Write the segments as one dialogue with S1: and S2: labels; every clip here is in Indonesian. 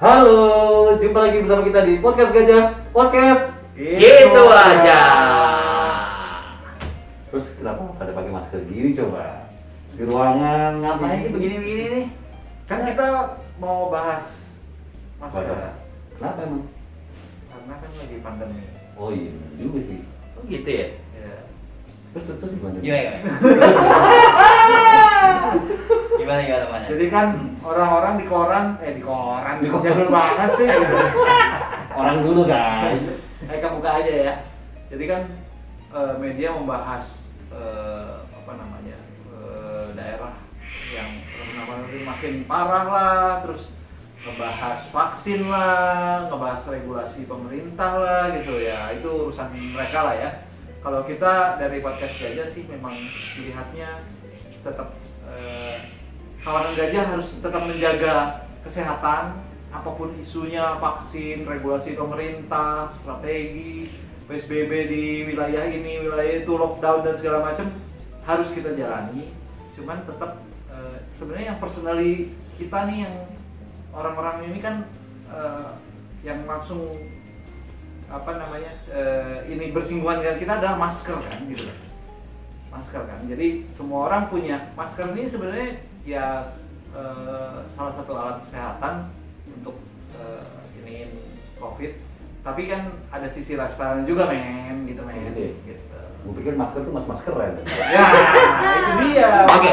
S1: Halo, jumpa lagi bersama kita di podcast Gajah Podcast.
S2: Gitu aja.
S1: Terus kenapa pada pakai masker gini coba? Di ruangan
S2: Ngapain sih begini-begini nih?
S3: Kan kita mau bahas
S1: Masker.
S3: masalah
S1: Kenapa emang?
S3: karena kan lagi pandemi.
S1: Oh iya juga sih.
S2: Oh gitu ya?
S3: Ya.
S1: Terus terus terus gimana?
S2: Gimana gimana? gimana gimana mana?
S3: Jadi kan orang-orang di koran, eh di koran, di koran jadul banget sih.
S1: Orang dulu guys.
S3: Mereka buka aja ya. Jadi kan eh, media membahas eh, apa namanya eh, daerah yang kenapa makin parah lah, terus ngebahas vaksin lah, ngebahas regulasi pemerintah lah gitu ya. Itu urusan mereka lah ya. Kalau kita dari podcast aja sih memang dilihatnya tetap eh, kawanan gajah harus tetap menjaga kesehatan apapun isunya vaksin regulasi pemerintah strategi psbb di wilayah ini wilayah itu lockdown dan segala macam harus kita jalani cuman tetap eh, sebenarnya yang personally kita nih yang orang-orang ini kan eh, yang langsung apa namanya eh, ini bersinggungan dengan kita adalah masker kan gitu loh masker kan jadi semua orang punya masker ini sebenarnya ya eh, salah satu alat kesehatan untuk eh, iniin covid tapi kan ada sisi lifestyle juga men gitu men
S1: Gitu ya?
S3: gitu.
S1: Gue pikir masker tuh mas maskeran.
S3: ya itu dia
S1: Iya.
S2: Oke.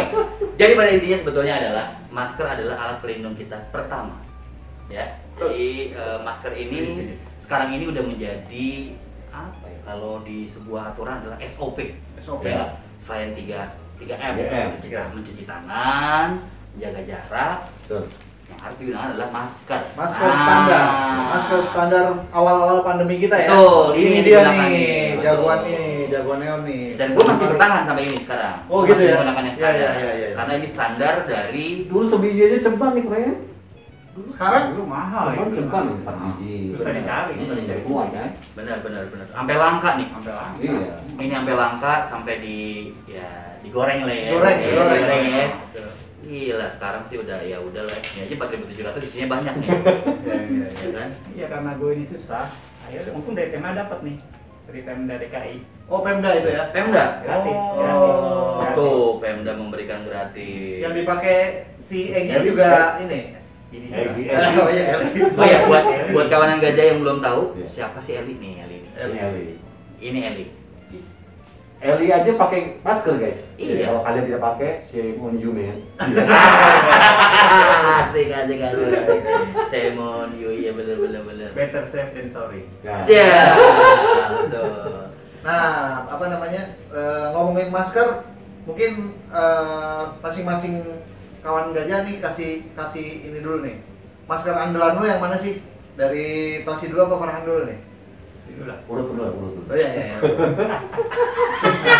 S2: Jadi pada intinya sebetulnya adalah masker adalah alat pelindung kita pertama. Ya. Jadi eh, masker ini sekarang ini udah menjadi apa ya? Kalau di sebuah aturan adalah SOP.
S3: SOP.
S2: Ya. Selain 3 3 M,
S1: 3M.
S2: mencuci tangan, menjaga jarak,
S1: Tuh.
S2: yang harus digunakan adalah masker.
S4: Masker
S2: Ah.
S4: standar, masker standar awal-awal pandemi kita ya.
S2: Betul, ini
S4: ini dia
S2: digunakan
S4: nih,
S2: nih.
S4: jagoan
S2: Betul.
S4: nih, jagoan Neon nih.
S2: Dan gue masih bertahan sampai ini sekarang.
S4: Oh,
S2: Gua
S4: gitu
S2: masih
S4: ya?
S2: menggunakan yang
S4: Iya,
S2: standar.
S4: iya, iya, iya.
S2: Karena ini standar dari
S1: Dulu sebiji aja cempan nih keren.
S4: Sekarang?
S3: dulu mahal
S1: Cempan
S3: itu.
S1: cempan empat biji.
S3: Susah dicari.
S1: Susah dicari kuat kan?
S2: benar benar benar sampai langka nih.
S3: sampai lah
S1: Iya.
S2: Ini sampai langka sampai di ya digoreng lah ya.
S4: Goreng,
S2: Ya,
S4: goreng.
S2: digoreng ya. Gila sekarang sih udah ya udah lah ini aja 4700 isinya banyak nih.
S4: Iya,
S2: ya kan?
S5: Ya karena gue ini susah, akhirnya untung dari tema dapat nih dari tema dari KI.
S4: Oh Pemda itu ya,
S2: Pemda.
S5: Gratis,
S2: Oh.
S5: gratis, gratis.
S2: Tuh, Pemda memberikan gratis.
S4: yang dipakai si Egy juga ini.
S5: Ini
S1: Eh,
S5: juga.
S1: iya.
S4: Oh iya,
S2: Oh ya buat buat kawanan gajah yang belum tahu
S1: Iya.
S2: siapa sih Eli nih Eli ini.
S1: Eli. Eli.
S2: Ini Eli.
S1: Eli aja pakai masker guys.
S2: Iya.
S1: Jadi Kalau kalian tidak pakai, ya shame on you man.
S2: asik asik asik Semon Yui ya bener bener bener
S5: Better safe than sorry.
S1: Nah.
S2: ya tuh.
S4: Nah, apa namanya eh, ngomongin masker, mungkin eh, masing-masing kawan gajah nih kasih kasih ini dulu nih. Masker andalan lu yang mana sih? Dari Tosi dulu apa Farhan dulu nih?
S5: Itu lah.
S1: Urut dulu, lah, urut dulu.
S4: Oh iya iya. iya.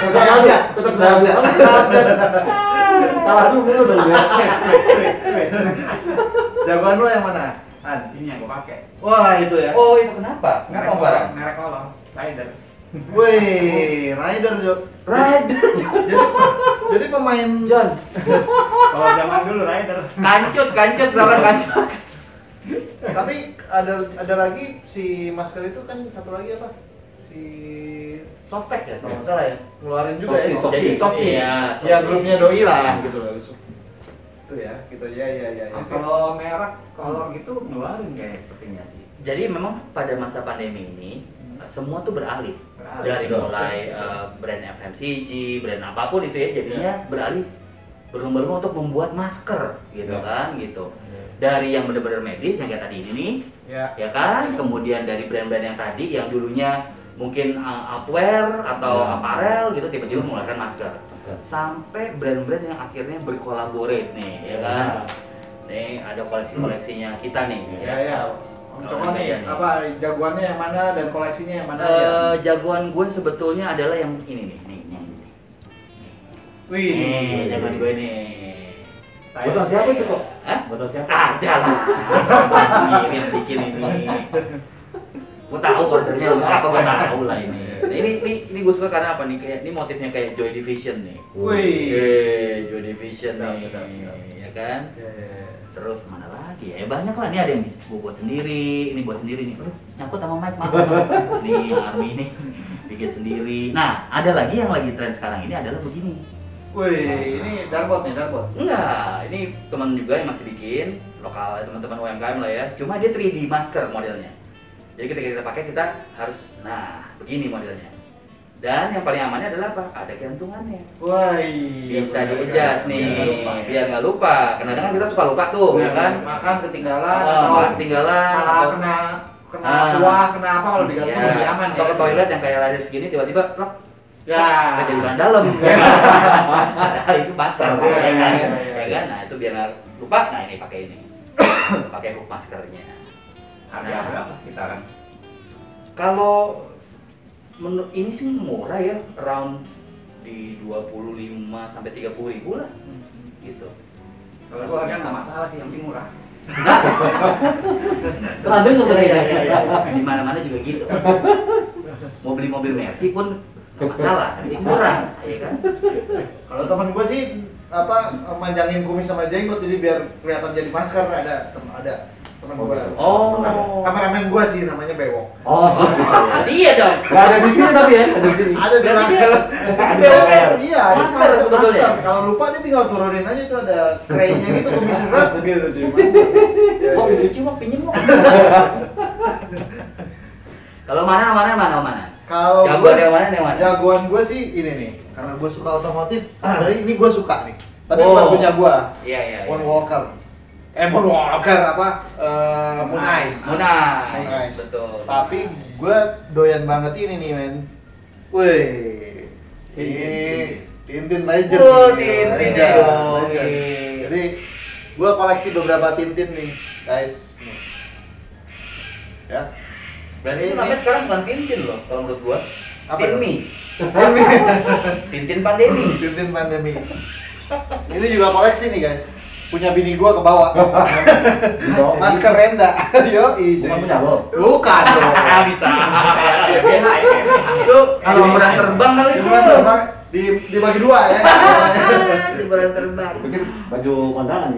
S4: Susah aja,
S2: Iya.
S1: Tetap
S4: susah aja.
S1: Salah dulu dulu dong ya.
S2: Iya.
S4: Jagoan lu yang mana? Han.
S5: Ini yang gue pakai.
S4: Wah itu ya.
S2: oh itu kenapa nggak mau barang
S5: Merek kolong. Rider.
S4: Wih, rider Jo.
S1: Rider
S4: Jadi jadi pemain
S1: John.
S5: Kalau zaman dulu rider.
S2: kancut kancut lawan kancut
S4: Tapi ada ada lagi si masker itu kan satu lagi apa? Si Softek ya kalau nggak salah ya. Ngeluarin juga ya.
S1: Softis, Softis.
S4: Softis.
S2: Iya,
S4: Ya
S2: Softis. Iya.
S4: grupnya doi lah gitu loh. Itu ya, gitu ya ya ya. ya.
S5: Kalau merek kolong gitu ngeluarin kayak sepertinya sih.
S2: jadi memang pada masa pandemi ini eh, semua tuh beralih
S5: Beralih.
S2: dari mulai eh, brand FMCG brand apapun itu ya jadinya beralih berlomba-lomba untuk membuat masker gitu
S1: Ya.
S2: kan gitu dari yang bener-bener medis yang kayak tadi ini nih
S3: ya
S2: ya kan kemudian dari brand-brand yang tadi yang dulunya mungkin uh, upwear atau
S1: Ya.
S2: apparel gitu tiba-tiba mengeluarkan masker
S1: Masker.
S2: sampai brand-brand yang akhirnya berkolaborate nih ya kan nih ada koleksi-koleksinya kita nih
S4: Ya ya. Om Coko nih, ya, apa jagoannya yang mana dan koleksinya yang mana ya? aja?
S2: Eh, jagoan gue sebetulnya adalah yang ini nih nih nih
S4: Wih,
S2: Nih, jagoan gue nih ya.
S1: Bukan siapa itu kok?
S2: Hah? Ah,
S1: Bukan siapa?
S2: ada lah sendiri yang bikin ini gue tahu ordernya lu apa gue tahu lah ini Nah, ini ini ini gue suka karena apa nih kayak ini motifnya kayak Joy Division nih
S1: Wih.
S2: Yeay, Joy Division nih ya kan
S4: Ya, ya, ya.
S2: Terus kemana lagi ya? Ya, banyak lah, ini ada yang gua buat sendiri, ini buat sendiri nih. Aduh, nyangkut sama mic maaf. nih, yang Army ini bikin sendiri. Nah, ada lagi yang lagi tren sekarang ini adalah begini.
S3: Wih, ini darbot nih, darbot.
S2: Enggak, ini teman juga yang masih bikin lokal teman-teman UMKM lah ya. Cuma dia 3D masker modelnya. Jadi ketika kita pakai kita harus nah begini modelnya. Dan yang paling amannya adalah apa? Ada gantungannya.
S3: Wah, iya,
S2: Bisa diejas
S3: iya.
S2: nih,
S3: Biar nggak lupa.
S2: biar nggak lupa. Kadang-kadang kita suka lupa
S5: iya.
S2: tuh, ya kan?
S3: Makan ketinggalan
S2: Oh,
S3: atau
S2: malah ketinggalan.
S3: Nah, malah
S2: atau-
S3: kena kena
S2: Ah.
S3: kuah, kena apa kalau digantung
S2: Ya,
S3: lebih aman
S2: Kalau ke toilet yang kayak radis gini tiba-tiba plak,
S3: Ya.
S2: nggak jadi bahan dalam. Padahal itu masker,
S3: Iya,
S2: ya kan?
S3: iya, iya,
S2: Ya kan? Nah itu biar nggak lupa. Nah ini pakai ini, pakai hook maskernya.
S5: Harga
S2: Nah.
S5: berapa sekitaran?
S2: Kalau menurut ini sih murah ya, round di 25 sampai 30 ribu lah
S3: Hmm.
S2: gitu.
S5: Kalau gua harga nggak masalah sih, yang penting murah.
S2: Terlalu dengar tuh
S4: Iya, iya, iya.
S2: Di mana-mana juga gitu. Mau beli mobil Mercy pun nggak masalah, yang penting murah, ya kan?
S4: Kalau teman gue sih apa manjangin kumis sama jenggot jadi biar kelihatan jadi masker ada tem ada teman gue.
S2: Oh.
S4: Kameramen gue sih namanya Bewok.
S1: Oh,
S2: Iya dong.
S1: nggak ada di sini tapi ya, ada di sini.
S2: Iya,
S4: Ada di
S2: Berarti ya?
S4: Rangel.
S1: Ada.
S4: Iya,
S2: Masker ya?
S4: ada masker,
S2: sebetulnya.
S4: masker. Kalau lupa dia tinggal turunin aja tuh ada kraynya gitu kumis berat gitu jadi masker.
S2: Mau dicuci mau pinjem mau. Kalau mana mana mana mana.
S4: Kalau
S2: Jagoan
S4: gua-
S2: yang mana yang mana? Ah.
S4: jagoan gue sih ini nih karena gue suka otomotif sebenarnya ini gue suka nih tapi
S2: Oh.
S4: bukan punya gue
S2: Iya iya. iya.
S4: Moon Walker eh Moon Walker apa Eh, Moon Ice Moon
S2: Munas.
S4: Ice.
S2: Oh, Betul.
S4: tapi gue doyan banget ini nih men wih ini Tintin Legend
S2: Oh,
S4: nih,
S2: Tintin
S4: Legend,
S2: ya.
S4: Legend.
S2: Oke.
S4: jadi gue koleksi beberapa Tintin nih guys Nih. ya
S2: Berarti
S4: Ini-
S2: itu namanya sekarang bukan Tintin loh kalau menurut gua.
S4: Apa
S2: Tinmi. Tintin pandemi.
S4: Tintin pandemi. Ini juga koleksi nih guys. Punya bini gua ke bawah. Masker Renda. Yo,
S1: Bukan punya lo.
S3: Bukan dong.
S2: Bisa. Itu kalau orang terbang kali itu.
S4: Cuman terbang di dibagi dua ya.
S2: Liburan terbang.
S1: Bikin baju kondangan.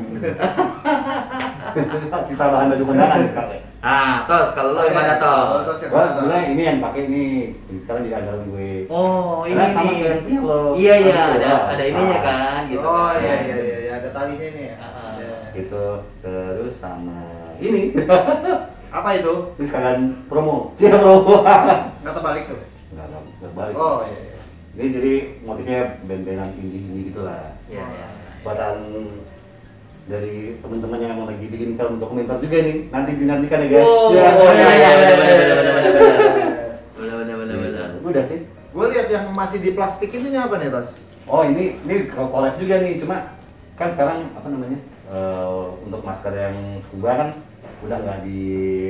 S1: Sisa bahan baju kondangan.
S2: Ah, tos kalau
S4: Oh,
S2: lo
S4: iya.
S2: gimana tos?
S4: Terus yang
S1: Gua
S4: mana?
S1: sebenarnya ini yang pakai ini sekarang jadi andalan gue.
S2: Oh, ini
S1: Karena sama
S2: nih.
S1: kayak yang lo.
S2: Iya iya
S1: Sama
S2: ada
S1: kayak lo.
S2: ada ininya
S1: Ah.
S2: kan gitu.
S4: Oh
S2: kan.
S4: iya iya iya iya. ada talinya nih ya.
S2: Ah.
S4: Iya.
S1: Gitu terus sama ini.
S4: Apa itu?
S1: Ini sekalian promo. Dia promo.
S4: Nggak terbalik tuh.
S1: Enggak enggak berbalik.
S4: Oh iya iya.
S1: Ini jadi motifnya band-bandan indie-indie gitu lah.
S2: Iya iya.
S1: buatan dari teman-teman yang emang lagi bikin film dokumenter juga nih nanti dinantikan ya guys
S2: Wow,
S1: Ya.
S2: oh, iya, iya, iya, iya, iya, iya, iya, iya.
S4: Eh,
S2: Benar benar benar benar.
S1: udah sih
S4: Gua lihat yang masih di plastik itu nih apa nih, Tos?
S1: oh ini ini collab juga nih cuma kan sekarang apa namanya eh, untuk masker yang scuba kan udah nggak di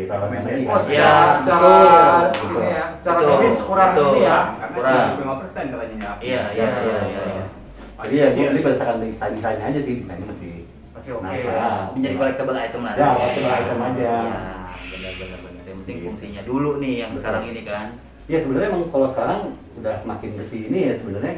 S1: elemen lagi
S4: Oh,
S1: kan?
S2: Iya,
S4: secara, secara
S1: betul.
S4: ini ya, secara
S2: Betul,
S4: medis kurang
S2: betul.
S4: ini ya.
S5: Karena
S2: Kurang.
S5: 25% katanya ya.
S2: Iya iya iya iya. iya.
S1: jadi ya gue beli berdasarkan desain-desainnya aja sih nah ini masih
S4: Masih oke.
S1: naik
S5: Iya.
S1: lah.
S2: Menjadi collectible item lah.
S1: Ya, collectible item aja.
S2: Iya, benar benar benar. Yang penting fungsinya dulu nih yang
S1: Betul.
S2: sekarang ini kan.
S1: Ya sebenarnya emang kalau sekarang udah makin bersih ini ya sebenarnya.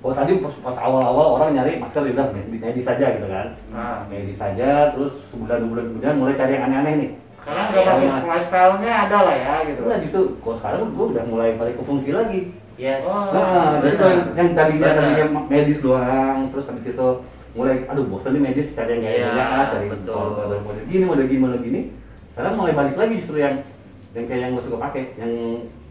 S1: Kalau tadi pas, pas awal-awal orang nyari masker juga med- medis saja gitu kan.
S4: Nah.
S1: Medis saja, terus sebulan dua bulan kemudian mulai cari yang aneh-aneh nih.
S3: Sekarang udah masuk
S1: Iya.
S3: lifestyle-nya ada lah ya gitu.
S1: Itu lah justru kalau sekarang gue udah mulai balik ke fungsi lagi.
S2: Yes.
S4: Oh,
S1: Nah, dari
S2: benar.
S1: yang, yang tadinya
S2: Benar.
S1: tadinya medis doang, terus habis itu mulai aduh bosan nih medis cari yang
S2: Iya,
S1: kayak gini, ah, cari
S2: betul.
S1: model- model model gini, model gini, model gini. Sekarang mulai balik lagi justru yang yang kayak yang gue suka pakai, yang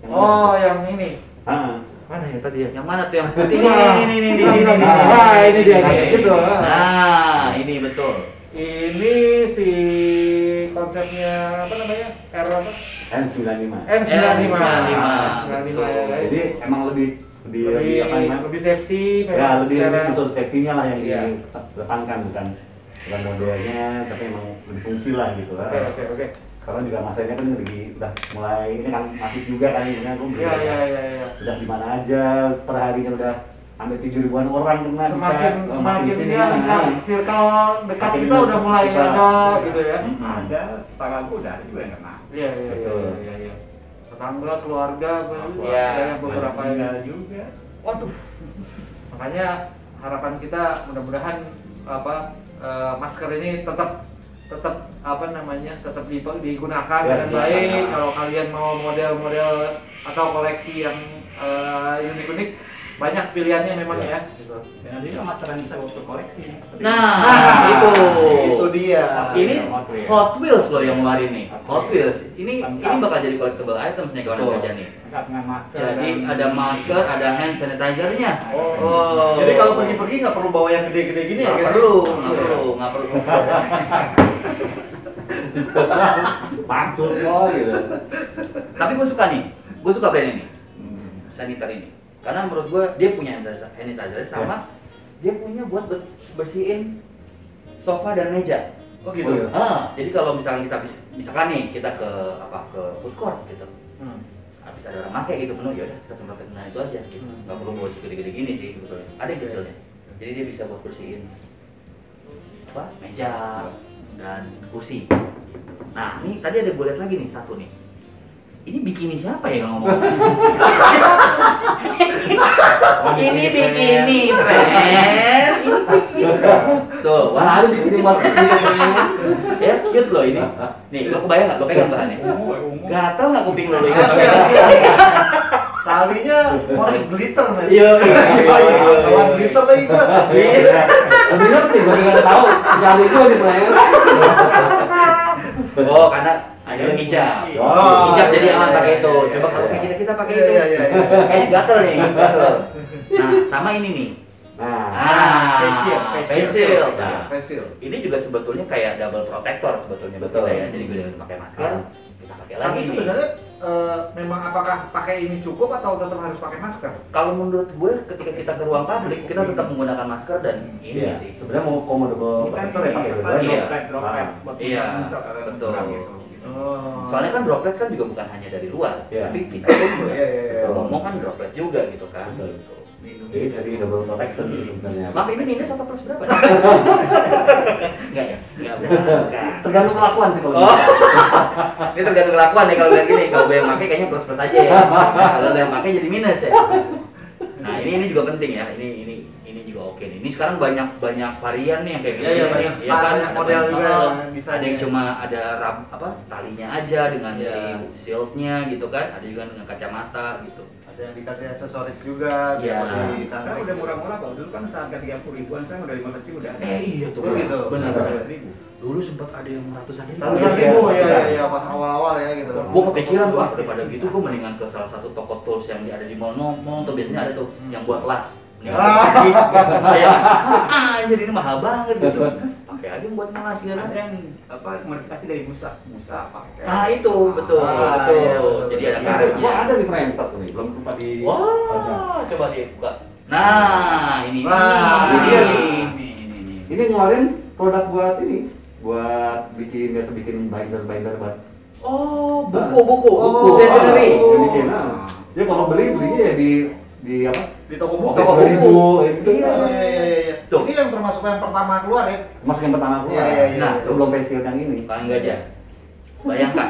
S1: yang
S3: Oh, yang ini.
S1: Ah.
S4: Mana ya tadi ya?
S2: Yang mana tuh yang ini ini ini
S3: Ah,
S2: ini ini. ini.
S1: Nah, ini dia,
S2: Nah,
S1: kayak gitu.
S2: Nah, ini betul.
S3: Ini si konsepnya apa namanya? R apa?
S1: N95.
S3: N95.
S2: N95.
S3: N95 ya guys.
S1: Jadi emang lebih lebih lebih, apa
S3: lebih,
S1: namanya?
S3: lebih safety
S1: Ya
S3: memang
S1: lebih
S3: secara-
S1: lebih unsur safety-nya lah yang
S3: Iya.
S1: ditekankan bukan bukan modelnya tapi emang lebih fungsi lah gitu lah.
S3: Oke, oke, oke.
S1: Karena juga masanya kan lebih udah mulai ini kan masif juga kan ini kan gua
S3: Iya, iya, iya, iya.
S1: udah di mana aja perharinya udah hampir tujuh ribuan orang kena bisa.
S3: Semakin
S1: Oh,
S3: semakin
S1: sini,
S3: dia
S1: nah.
S3: lingkar circle dekat
S1: Makin
S3: kita udah mulai
S1: kita-
S3: ada gitu ya.
S1: Mm-mm.
S5: Ada tetangga gua udah ada juga yang
S4: Nah,
S5: kena.
S3: Iya, iya, iya,
S1: Betul.
S3: iya, iya. Tetangga, keluarga, gue-
S2: Iya.
S3: ada yang beberapa yang
S5: tinggal juga.
S2: Waduh.
S3: makanya harapan kita mudah-mudahan apa eh, masker ini tetap tetap apa namanya tetap dipa- digunakan
S1: Ya,
S3: dengan
S1: digunakan.
S3: baik kalau kalian mau model-model atau koleksi yang eh, unik-unik banyak pilihannya memang
S1: Ya.
S3: ya, gitu.
S5: Dan nanti juga masteran bisa waktu koleksi. seperti
S2: Nah, itu.
S4: itu dia
S2: Ini Hot Wheels loh yang kemarin nih. Hot Wheels. Ini ini bakal jadi collectible items nih kawan
S1: Betul.
S2: saja nih.
S5: itu. Lengkap dengan masker.
S2: Jadi
S5: dan-
S2: ada masker, ada hand sanitizer-nya.
S4: Oh.
S2: Oh.
S4: jadi kalau pergi-pergi nggak perlu bawa yang gede-gede gini ya
S2: nggak
S4: guys
S2: perlu, nggak perlu, nggak perlu.
S1: Pantul kok gitu.
S2: Tapi gue suka nih, gue suka brand ini, Hmm. sanitizer ini. Karena menurut gue dia punya hand sanitizer- hand sanitizer sama dia punya buat ber- bersihin sofa dan meja.
S4: oh gitu
S1: Oh, iya.
S2: Ah, jadi kalau misalnya kita bis- misalkan nih kita ke apa ke food court gitu,
S4: Hmm.
S2: habis ada orang pakai gitu menu ya udah kita semprot ke sana itu aja gitu.
S4: Hmm.
S2: Nggak perlu bawa gede-gede gini sih sebetulnya. Ada yang kecilnya. Jadi dia bisa buat bersihin apa meja dan kursi. Nah, ini tadi ada gue lihat lagi nih satu nih. Ini bikini siapa ya yang ngomong? ini bikini, friend. Tuh, wah ada bikini mas. ya, cute loh ini. Nih, lo kebayang nggak? Lo pegang bahannya.
S5: Ungu, ungu.
S2: Gatel nggak kuping lo lo ikut
S4: Asli,
S2: pegang?
S4: asli, Ah, talinya motif glitter men
S2: Iya, iya,
S4: Iya, iya, kawan glitter lagi gua
S1: Iya. Lebih ngerti gue nggak tahu. Jadi gue di player.
S2: Oh, karena ada yang hijab.
S4: Oh,
S2: hijab jadi
S4: iya,
S2: aman
S4: iya,
S2: pakai
S4: iya,
S2: itu.
S4: iya,
S2: Coba kalau
S1: iya.
S2: kayak kita kita pakai
S4: Iya,
S2: itu.
S4: iya, iya, iya.
S2: Kayaknya gatel nih, gatel. Nah, sama ini nih.
S1: Nah,
S2: Ah,
S5: facial,
S2: face
S5: facial.
S4: Iya.
S2: shield. Nah,
S4: facial
S2: ini juga sebetulnya kayak double protector sebetulnya buat
S1: Betul.
S2: kita ya. Jadi gue dengan pakai masker,
S1: Ah.
S2: kita pakai lagi.
S4: tapi
S2: nih.
S4: sebenarnya eh, memang apakah pakai ini cukup atau tetap harus pakai masker
S2: kalau menurut gue ketika kita ke ruang publik kita tetap menggunakan masker dan ini
S1: iya sih.
S2: sih.
S1: Sebenarnya mau
S5: Ini
S1: komodo
S5: kan
S1: protector ya pakai
S4: gitu.
S5: apa,
S4: Iya.
S1: dua-duanya.
S5: droplet, droplet.
S1: Ah.
S5: Buat
S2: Iya,
S5: menyerap, menyerap
S2: betul.
S5: gitu.
S4: oh
S2: Soalnya kan droplet kan juga bukan hanya dari luar,
S1: Iya.
S2: tapi kita pun juga.
S4: Iya, iya, iya.
S2: Ngomong kan droplet juga gitu kan.
S1: Betul.
S2: Gitu.
S1: Jadi jadi double protection sih sebenarnya.
S2: Maaf ini minus atau plus berapa? Enggak ya? Enggak bukan.
S1: Tergantung kelakuan sih kalau
S2: Oh.
S1: gitu.
S2: ini tergantung kelakuan ya kalau lihat gini. Kalau gue yang pakai kayaknya plus plus aja ya. Kalau lo yang pakai jadi minus ya. Nah ini ini juga penting ya. Ini ini ini juga oke nih. Ini sekarang banyak banyak varian nih yang kayak
S4: Iya,
S2: gini
S4: iya,
S2: nih.
S4: banyak
S2: Iya
S4: style,
S2: kan?
S4: banyak
S2: Ada
S4: model juga
S2: mahal,
S4: yang bisa
S2: Ada yang
S4: ya.
S2: cuma ada ram, apa talinya aja dengan
S4: Iya.
S2: si shieldnya gitu kan. Ada juga dengan kacamata gitu.
S4: ada yang dikasih aksesoris juga
S2: Iya.
S4: biar lebih
S5: Sekarang
S4: cantik. gitu.
S5: udah murah-murah kalau dulu kan seharga 30 ribuan, sekarang udah 15 ribu udah ada.
S2: Eh iya tuh.
S4: Oh, gitu.
S2: Benar
S1: Benar.
S2: benar. Dulu sempat ada yang ratusan ribu.
S1: Ratusan
S4: Ratusan ribu
S2: Iya.
S4: ya, ya, ya, pas awal-awal ya gitu.
S2: gue kepikiran wah daripada gitu gue mendingan ke salah satu toko tools yang ada di mall mall mall tuh biasanya ada tuh yang buat las
S4: Hmm. Ah.
S2: Mendingan gue beli, kayak ah jadi ini mahal banget gitu pakai aja yang buat ngelas gitu
S5: Ada yang apa modifikasi dari busa, busa pakai.
S2: nah
S4: iya.
S2: itu betul
S4: Ah,
S2: betul
S4: iya, betul,
S2: jadi ada
S1: Ada,
S2: karetnya
S1: gua ada di frame satu nih, belum sempat di. Panjang.
S2: wah coba dia buka nah ini
S4: Wah,
S2: ini
S1: ini dia
S2: ini,
S1: nih.
S2: ini ini ini
S1: Ini ngeluarin produk buat ini, buat bikin biasa bikin binder binder buat
S2: oh
S4: Nah.
S2: buku buku
S4: Buku.
S2: buku stationery
S1: Oh, yang bikin. ah. Jadi kalau beli belinya ya di di apa?
S4: Di toko buku.
S1: Toko
S2: buku.
S1: buku itu.
S4: Oh, Iya, iya, iya, iya.
S2: Tuh.
S4: Ini yang termasuk yang pertama keluar ya.
S1: Masuk yang pertama keluar.
S4: Iya, iya, iya.
S1: Nah, sebelum facial yang ini.
S2: Bang Gajah, bayangkan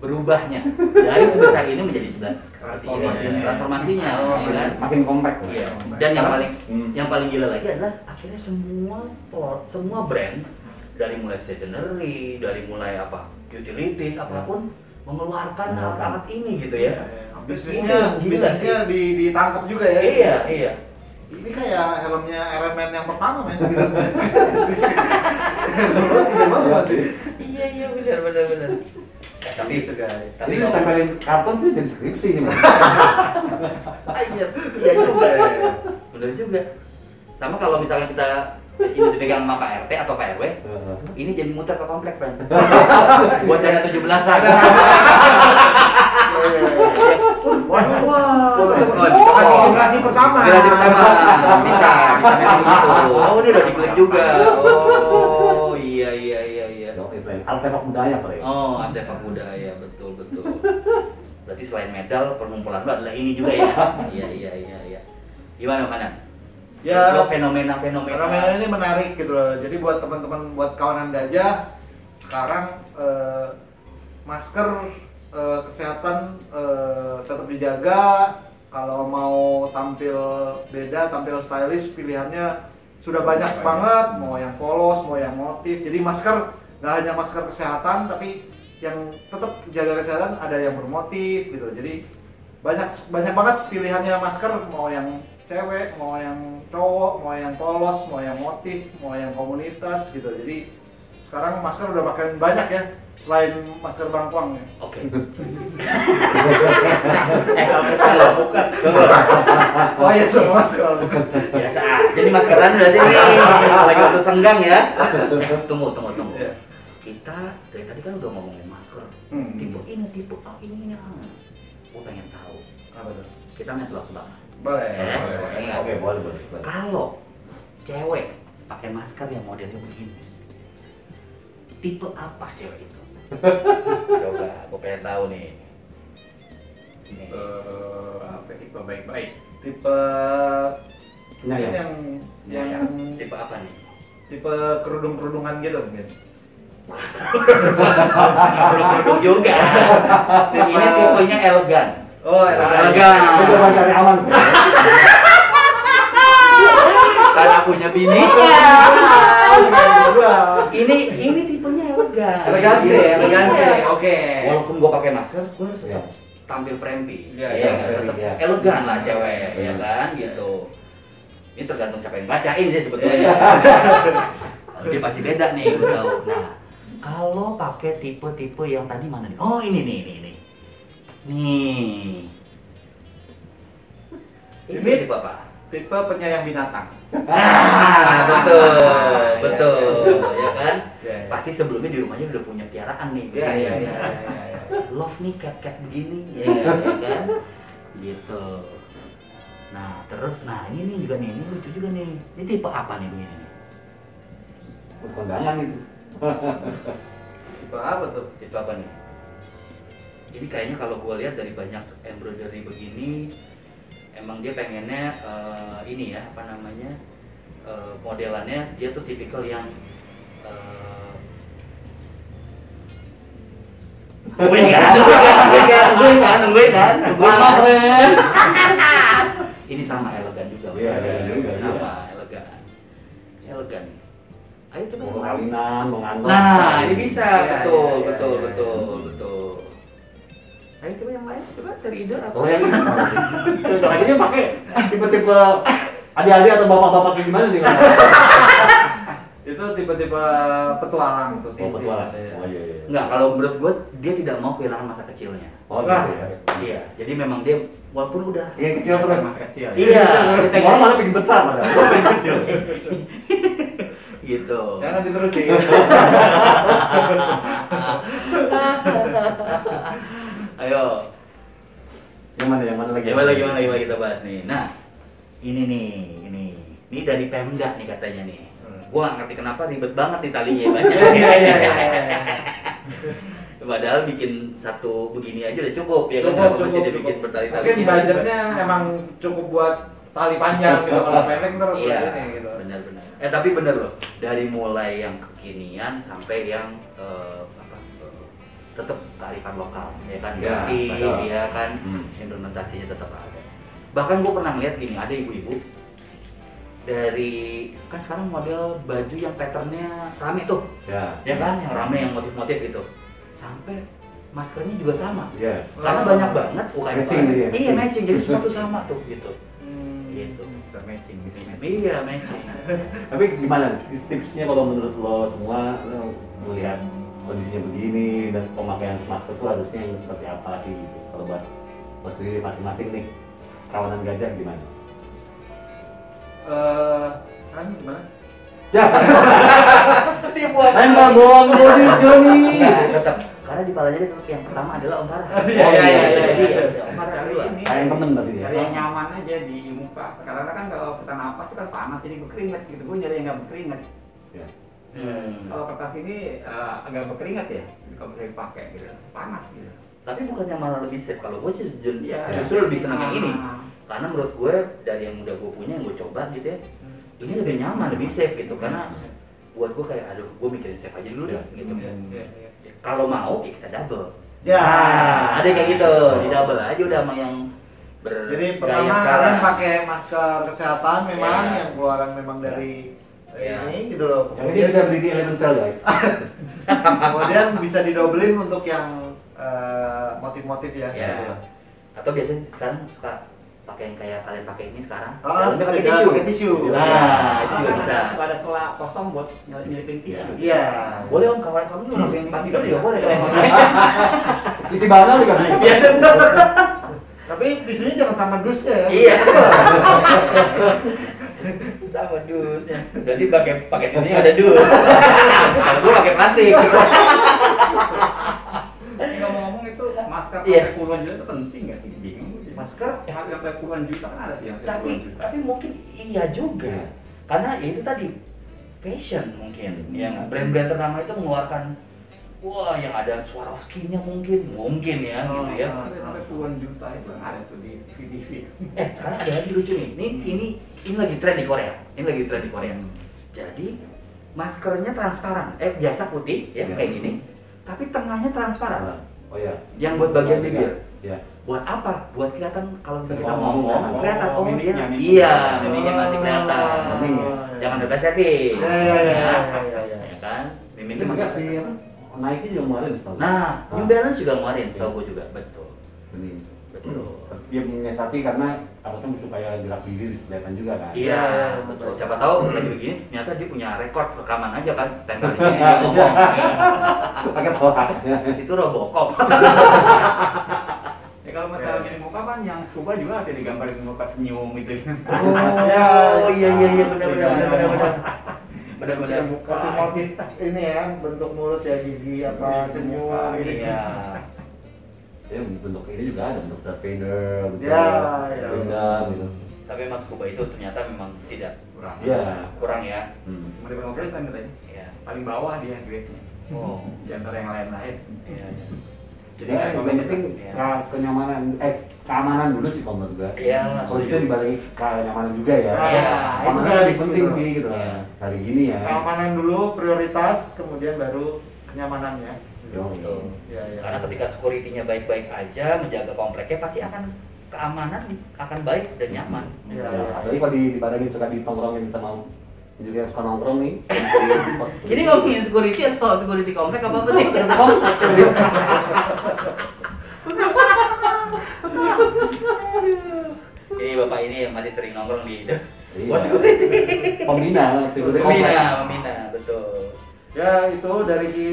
S2: berubahnya dari sebesar ini menjadi sebelas
S5: Transformasinya.
S2: transformasinya, ya kan?
S1: Makin kompak.
S2: Iya. Dan yang paling
S1: Hmm.
S2: yang paling gila lagi adalah akhirnya semua por- semua brand dari mulai stationery, dari mulai apa utilities apapun mengeluarkan
S1: Mengeluarkan.
S2: alat-alat ini gitu ya.
S4: Iya, Bisnisnya,
S2: Ini gila sih.
S4: bisnisnya di, ditangkap juga ya.
S2: Iya, iya.
S4: Ini kayak helmnya Iron Man yang pertama men. Gitu. Dulu gede banget masih.
S2: Iya, iya benar benar benar. Eh, tapi
S4: Gitu, guys.
S2: tapi
S1: Ini
S2: ngomong-
S1: ditempelin karton sih jadi skripsi ini. Bang.
S2: Iya, iya juga. Bener juga. Sama kalau misalnya kita ini dipegang sama Pak RT atau Pak RW,
S1: Heeh.
S2: ini jadi muter ke komplek, Bang. Buat dana 17-an.
S4: Iya, iya, iya. Waduh,
S2: Wah,
S4: wah.
S2: dicopot.
S4: Kasih generasi pertama.
S2: Generasi pertama. Bisa, bisa memang gitu. Oh, ini udah dipelit juga. Oh, iya iya iya iya.
S1: Dong, itu ya. Artefak budaya kali ya.
S2: Oh, ada Pak Muda ya, betul betul. Berarti selain medal, pengumpulan lo adalah ini juga ya. Iya iya iya iya. Gimana, mana?
S4: Ya.
S2: Lo fenomena-fenomena.
S4: fenomena ini menarik gitu loh. Jadi buat teman-teman buat kawanan gajah sekarang eh, masker eh, kesehatan eh, tetap dijaga. Kalau mau tampil beda, tampil stylish pilihannya sudah banyak banget mau yang polos mau yang motif jadi masker nggak hanya masker kesehatan tapi yang tetap jaga kesehatan ada yang bermotif gitu jadi banyak banyak banget pilihannya masker mau yang cewek mau yang cowok mau yang polos mau yang motif mau yang komunitas gitu jadi sekarang masker udah makin banyak ya selain masker bangkuang ya
S2: Oke.
S5: Eh, kalau bukan, kalau bukan.
S4: oh iya semua masker
S2: Biasa. Jadi maskeran berarti nih. lagi waktu senggang ya. Eh, tunggu, tunggu, tunggu.
S4: Iya.
S2: Kita dari tadi kan udah ngomongin masker.
S4: Hmm.
S2: Tipe ini, tipe A ini, ini. ah. Gue pengen tahu.
S4: apa tuh
S2: Kita main tebak tebakan.
S4: boleh
S2: Eh,
S4: boleh, boleh.
S2: iya.
S1: Oke, boleh, boleh. boleh.
S2: Kalau cewek pakai masker yang modelnya begini, tipe apa cewek itu? Coba, gue pengen tahu nih. Ini.
S3: Eh, apa tipe baik-baik
S4: tipe
S1: Nah,
S4: mungkin
S1: ya.
S4: yang
S2: Iya,
S4: yang
S2: Tipe apa nih?
S4: tipe kerudung kerudungan gitu mungkin
S2: Produk juga. Ini tipenya elegan.
S4: oh
S2: Elegan.
S1: Itu coba cari aman.
S2: Karena punya bini.
S4: kedua
S2: ini ini tipenya elegan.
S4: elegansi elegansi
S2: Iya.
S4: oke
S2: Walaupun gue pakai masker, gue harus tetap tampil prempy.
S3: Iya,
S2: Iya,
S1: iya,
S2: tetap
S1: iya.
S2: elegan lah cewek,
S1: Iya.
S2: ya kan gitu. Ini tergantung siapa yang bacain sih sebetulnya.
S3: Iya.
S2: Dia pasti beda nih, gue tahu. Nah, kalau pakai tipe-tipe yang tadi mana nih? Oh, ini nih, ini ini. Nih. Ini,
S4: Ini-
S2: tipe apa?
S4: tipe penyayang binatang
S2: Ah, betul, betul, ya kan?
S4: Iya, iya.
S2: Pasti sebelumnya di rumahnya udah punya piaraan nih.
S4: iya iya iya iya, iya.
S2: love nih cat-cat begini ya, ya kan gitu nah terus nah ini nih juga nih ini lucu juga nih ini tipe apa nih begini nih?
S1: Kondangan itu.
S4: tipe apa tuh
S2: tipe apa nih ini kayaknya kalau gue lihat dari banyak embroidery begini emang dia pengennya eh, ini ya apa namanya eh, modelannya dia tuh tipikal yang eh, Nungguin kan, nungguin kan, nungguin kan, nungguin kan, nungguin kan. Ini sama elegan juga.
S1: Iya, iya, iya,
S2: sama elegan. Elegan. Ayo coba.
S1: Mau kawinan, mau ngantor.
S2: Nah, ini bisa,
S4: Iya,
S2: betul,
S4: iya,
S2: betul,
S4: iya,
S2: betul, betul. Ayo coba yang lain, coba cari ide apa?
S1: Oh yang ini. Bentar lagi dia pakai tipe-tipe adik-adik atau bapak-bapak kayak gimana nih?
S4: itu tipe-tipe petualang tuh
S1: Oh, petualang.
S4: Iya.
S1: Oh iya iya.
S2: Enggak, kalau menurut gue dia tidak mau kehilangan masa kecilnya.
S1: Oh gitu ya.
S2: Iya, jadi memang dia walaupun udah
S1: Yang kecil terus.
S5: Mas kecil.
S2: Iya, kita
S1: Orang malah bikin besar padahal. Gua pengen kecil.
S2: gitu.
S4: jangan diterusin
S5: Iya.
S2: Ayo,
S1: Yang mana yang mana lagi?
S2: gimana lagi gimana lagi kita bahas nih. Nah, ini nih, ini. Ini dari Pemda nih katanya nih. Gua nggak ngerti kenapa ribet banget nih talinya banyak.
S4: iya iya iya
S2: Padahal bikin satu begini aja udah cukup ya kan? Kenapa
S4: cukup cukup
S2: mesti dia
S4: cukup
S2: bikin bertali-tali.
S4: mungkin budgetnya emang cukup buat tali panjang gitu kalau pendek ntar
S2: Iya,
S4: ini gitu
S2: benar-benar. Eh tapi benar loh, dari mulai yang kekinian sampai yang eh, apa eh, tetap kearifan lokal ya kan
S1: Iya,
S2: ganti
S1: betul.
S2: ya kan
S1: Hmm.
S2: implementasinya tetap ada. Bahkan gue pernah ngeliat gini, ada ibu-ibu dari kan sekarang model baju yang patternnya rame tuh,
S1: Ya.
S2: ya kan yang rame yang motif-motif gitu. Sampai maskernya juga sama.
S1: Iya.
S2: Karena banyak banget UKM.
S1: Matching jadi ya?
S2: Iya, matching. Jadi semua tuh sama tuh gitu.
S4: Hmm.
S2: Gitu.
S5: Bisa matching, bisa matching.
S2: Iya, matching.
S1: Tapi gimana tipsnya kalau menurut lo semua lo melihat kondisinya begini dan pemakaian masker itu harusnya yang seperti apa sih gitu. Kalau buat lo sendiri masing-masing nih kawanan gajah gimana?
S4: eh kan gimana
S1: Ya. Emang bohong gue sih Joni.
S2: Enggak, tetap. Karena di palanya tetap yang pertama adalah Om Farah.
S4: Iya, iya, iya, iya,
S2: Jadi,
S4: iya.
S2: ya, Om Farah
S5: Cari
S2: kedua.
S5: ini.
S1: Kayak temen berarti
S2: Iya.
S1: ya.
S5: Cari yang nyaman aja di muka. Karena kan kalau kita napas kan panas, jadi gue keringet gitu. Gue nyari yang nggak berkeringet.
S2: Iya.
S1: Ya.
S5: Kalau kertas ini eh, agak berkeringat ya, kalau misalnya dipakai gitu, panas gitu.
S2: Tapi bukannya malah lebih safe kalau gue sih jujur- ya,
S5: Iya.
S2: justru lebih senang yang ini.
S5: Ah.
S2: Karena menurut gue dari yang udah gue punya yang gue coba gitu ya, ini lebih nyaman, lebih safe gitu. Karena buat gue kayak aduh gue mikirin safe aja dulu deh
S1: Iya.
S2: gitu.
S3: Iya, iya.
S2: Kalau mau ya kita double.
S4: Ya.
S2: Nah, ada yang kayak gitu, di double aja udah sama yang bergaya
S4: Jadi pertama
S2: sekarang.
S4: kalian pakai masker kesehatan memang
S2: Ya.
S4: yang keluaran memang dari
S2: Ya.
S4: ini gitu loh.
S1: Yang ini
S4: Kemudian,
S1: bisa beli di Eleven Cell guys.
S4: kemudian bisa didobelin untuk yang eh, motif-motif ya.
S2: Ya.
S4: gitu loh.
S2: Atau biasanya sekarang suka pakai yang kayak kalian pakai ini sekarang.
S4: Ah,
S2: dalamnya
S4: segala pakai tisu. Iya.
S2: Nah, itu juga
S5: Karena
S2: bisa.
S5: kan suka ada selah kosong buat nyel- nyelipin tisu. gitu.
S4: Iya.
S2: Boleh om kawan kamu juga langsung yang empat tiga juga boleh kalau mau.
S1: Isi bahan juga bisa.
S2: Iya, bener.
S4: Tapi tisunya jangan sama dusnya ya.
S2: Iya. Sama
S4: ya.
S2: dusnya. Berarti pakai pakai ini ada dus. Kalau gua pakai plastik.
S5: Tapi ngomong-ngomong itu masker
S2: Iya.
S5: sampai puluhan juta itu penting nggak sih? Bingung gue sih.
S4: Masker?
S5: Yang sampai puluhan juta kan ada sih yang sampai
S2: tapi
S5: puluhan juta.
S2: tapi mungkin iya juga karena ya itu tadi fashion mungkin ya nggak? brand-brand ternama itu mengeluarkan wah yang ada Swarovski-nya mungkin mungkin ya gitu ya
S5: Oh, iya. Sampai sampai puluhan juta itu yang ada tuh di di TV.
S2: eh sekarang ada lagi lucu nih ini ini ini lagi tren di Korea ini lagi tren di Korea jadi maskernya transparan eh biasa putih ya
S1: Iya.
S2: kayak gini tapi tengahnya transparan
S1: Oh iya.
S2: yang buat bagian
S1: Iya.
S2: bibir
S1: Iya.
S2: buat apa buat kelihatan kalau kita
S1: Ngomong,
S2: ngomong
S1: ngomong.
S2: kelihatan oh dia
S5: Mimiknya, mimiknya.
S2: iya mimiknya masih kelihatan
S4: Oh.
S1: Mimik ya?
S2: jangan bebas setting
S4: Ya, ya, ya, ya, ya, ya.
S2: ya kan
S1: Ini
S2: mimiknya
S3: Iya,
S1: juga si
S2: masih
S1: apa? Nike juga kemarin. setahu gue.
S2: nah New Balance juga ngeluarin setahu gue juga betul
S1: ini.
S2: betul
S1: Dia menyiasati karena apa tuh musuh kayak gerak bibir kelihatan juga kan.
S2: iya
S4: Ya,
S2: betul siapa tahu lagi begini ternyata dia punya rekor rekaman aja kan tempel di sini dia ngomong Iya,
S1: Pakai tolak.
S2: itu robokop
S5: Ya kalau masalah gini muka kan yang scuba juga ada digambarin muka senyum gitu.
S2: oh iya iya iya benar benar
S4: Iya.
S2: benar benar benar benar benar
S5: Muka.
S4: Tapi motif ini ya bentuk mulut ya gigi apa senyum gitu.
S2: iya
S1: Ya bentuk ini juga ada bentuk Darth Vader, bentuk
S4: Ya, ya.
S1: Gundam gitu.
S2: tapi mas Kuba itu ternyata memang tidak
S5: Kurang.
S1: Iya.
S2: kurang ya
S1: Hmm.
S5: Cuma di bawah persen katanya.
S2: ya
S5: Paling bawah dia grade-nya.
S2: oh
S5: Di antara yang lain-lain.
S2: iya iya.
S5: Jadi nggak
S1: Nah, yang
S5: komen
S1: penting
S2: ya.
S1: ke- kenyamanan, eh keamanan dulu sih kalau menurut gua.
S2: Iya,
S1: Kondisi dibalik kenyamanan juga gitu. ya.
S4: Iya,
S1: Keamanan
S4: itu
S1: lebih
S4: guys,
S1: penting
S4: gitu.
S1: sih gitu lah.
S2: Iya.
S1: Hari gini ya.
S4: Keamanan dulu prioritas, kemudian baru kenyamanan ya.
S1: Yo, yo.
S2: Betul.
S4: Iya, iya.
S2: Karena ketika security-nya baik-baik aja, menjaga kompleknya pasti akan keamanan akan baik dan nyaman.
S1: Ya,
S4: Iya, iya.
S1: apalagi kalau di- dibarengin suka ditongkrongin sama jadi yang suka nongkrong nih. Iya. di pos-
S2: Jadi ngomongin security atau security komplek apa penting cerita komplek? Ini bapak ini yang masih sering nongkrong di itu.
S1: Iya.
S2: Bos security.
S1: pembina, security komplek.
S2: Pembina, pembina, betul.
S4: Ya itu dari Ki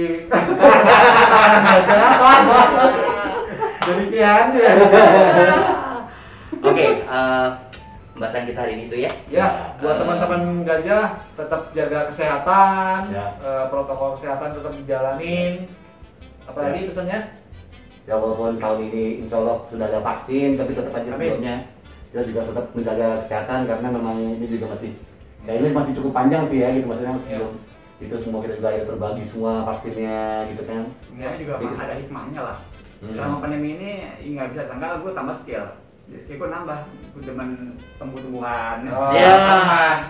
S4: dari Ki Andi ya.
S2: Oke, eh, pembahasan kita hari ini itu ya.
S4: Ya, buat teman-teman gajah tetap jaga kesehatan,
S1: Ya.
S4: eh, protokol kesehatan tetap dijalanin. Apalagi pesannya?
S1: Ya walaupun tahun ini insya Allah sudah ada vaksin, tapi tetap aja
S4: Amin.
S1: sebelumnya kita juga tetap menjaga kesehatan karena memang ini juga masih ya ini masih cukup panjang sih ya gitu maksudnya masih
S4: Iya.
S1: belum itu semua kita juga akhirnya berbagi semua vaksinnya gitu kan.
S5: sebenarnya juga
S4: Gitu.
S1: Iya.
S5: ada hikmahnya lah.
S1: Hmm.
S5: Selama pandemi ini ya nggak bisa sangka gue tambah skill. Jadi skill gue nambah, gue demen tumbuh-tumbuhan.
S4: Oh.
S2: Ya.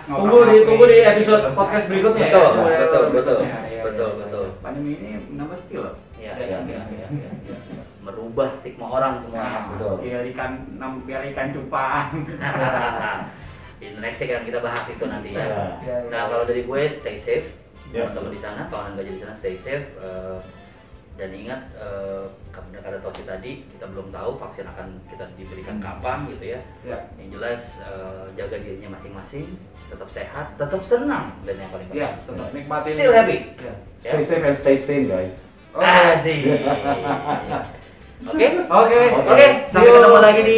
S5: Ngobrol
S4: Tunggu di
S5: sama
S4: tunggu di
S5: gue.
S4: episode podcast berikutnya ya.
S2: Betul,
S4: Tunggu
S2: betul,
S4: episode
S2: betul,
S4: berikutnya. Ya, ya,
S2: betul,
S4: ya.
S2: betul.
S5: Pandemi ini nambah skill loh.
S2: Iya,
S4: Ya,
S2: iya,
S4: ya,
S2: iya,
S4: ya,
S2: iya. Merubah stigma orang
S4: Iya,
S2: semuanya.
S5: Nah,
S1: betul.
S5: skill ikan, nam- biar ikan cupang.
S2: di next akan kita bahas itu nanti ya.
S1: Ya.
S4: Ya, ya.
S2: Nah kalau dari gue stay safe,
S1: Ya.
S2: teman-teman di sana, kawan gajah di sana stay safe eh, dan ingat eh, kata kata Tosi tadi kita belum tahu vaksin akan kita diberikan kapan gitu ya.
S4: Ya.
S2: Yang jelas eh, jaga dirinya masing-masing, tetap sehat, tetap senang dan yang paling
S3: Iya,
S2: penting
S4: Ya, tetap nikmatin.
S2: Still happy.
S4: Ya.
S2: ya.
S1: Stay safe and stay sane guys.
S2: Ah,
S4: Oke.
S2: Asik. Oke.
S4: Oke.
S2: Oke, sampai ketemu lagi di